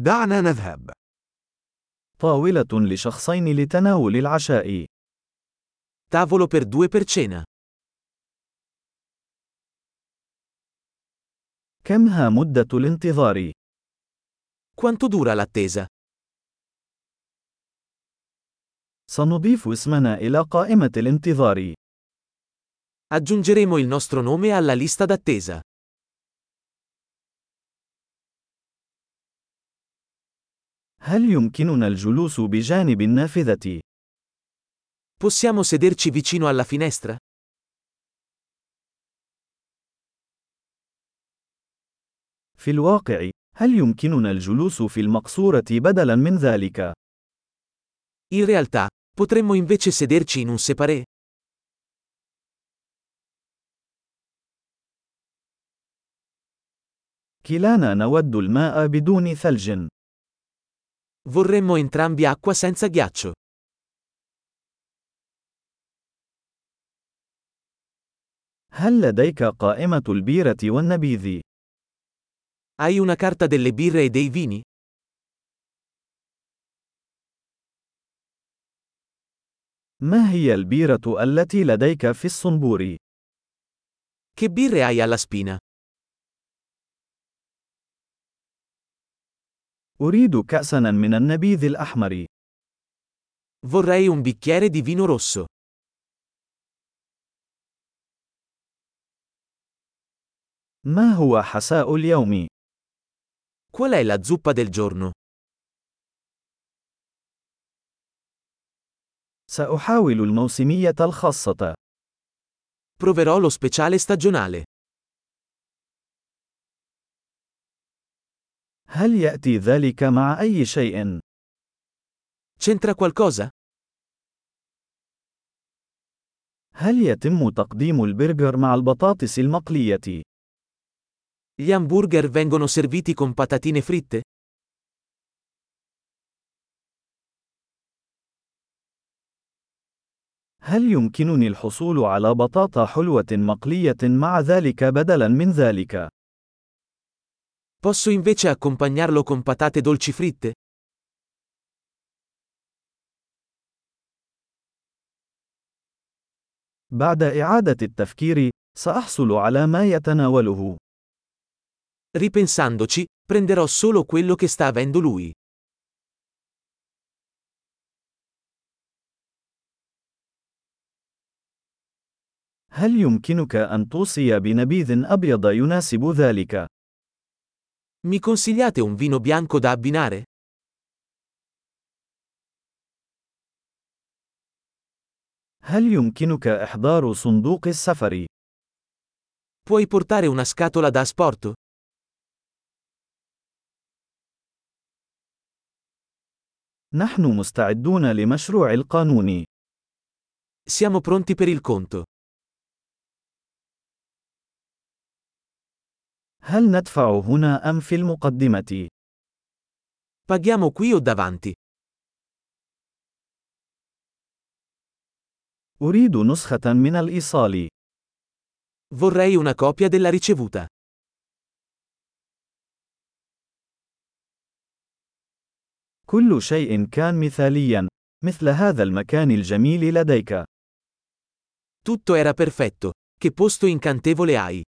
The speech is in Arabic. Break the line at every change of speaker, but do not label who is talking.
دعنا نذهب.
طاولة لشخصين لتناول العشاء.
Tavolo per due per cena.
كمها مدة الانتظار؟
Quanto dura l'attesa?
سنضيف اسمنا إلى قائمة الانتظار.
Aggiungeremo il nostro nome alla lista d'attesa.
هل يمكننا الجلوس بجانب النافذة؟
Possiamo sederci vicino alla finestra?
في الواقع، هل يمكننا الجلوس في المقصورة بدلاً من ذلك؟
In realtà, potremmo invece sederci in un separé.
كلانا نود الماء بدون ثلج.
Vorremmo entrambi acqua senza ghiaccio.
هل لديك قائمة البيرة والنبيذ؟
Hai una carta delle birre e dei vini?
ما هي البيرة التي لديك في الصنبور؟
Che birre hai alla spina?
أريد كأساً من النبيذ الأحمر.
Vorrei un bicchiere di vino rosso.
ما هو حساء اليوم؟
Qual è la zuppa del giorno?
سأحاول الموسمية الخاصة.
Proverò lo speciale stagionale.
هل يأتي ذلك مع أي شيء؟
C'entra qualcosa?
هل يتم تقديم البرجر مع البطاطس المقلية؟
Gli hamburger vengono serviti con patatine fritte?
هل يمكنني الحصول على بطاطا حلوة مقلية مع ذلك بدلاً من ذلك؟
Posso invece accompagnarlo con patate dolci fritte?
بعد إعادة التفكير، سأحصل على ما يتناوله.
Ripensandoci, prenderò solo quello che sta avendo lui.
هل يمكنك أن توصي بنبيذ أبيض يناسب ذلك؟
Mi consigliate un vino bianco da abbinare?
هل يمكنك إحضار صندوق السفر؟
Puoi portare una scatola da asporto?
نحن مستعدون لمشروع القانون.
Siamo pronti per il conto.
هل ندفع هنا أم في المقدمة؟
Paghiamo qui o davanti.
أريد نسخة من الإيصال.
Vorrei una copia della ricevuta.
كل شيء كان مثاليا، مثل هذا المكان الجميل لديك.
Tutto era perfetto. Che posto incantevole hai!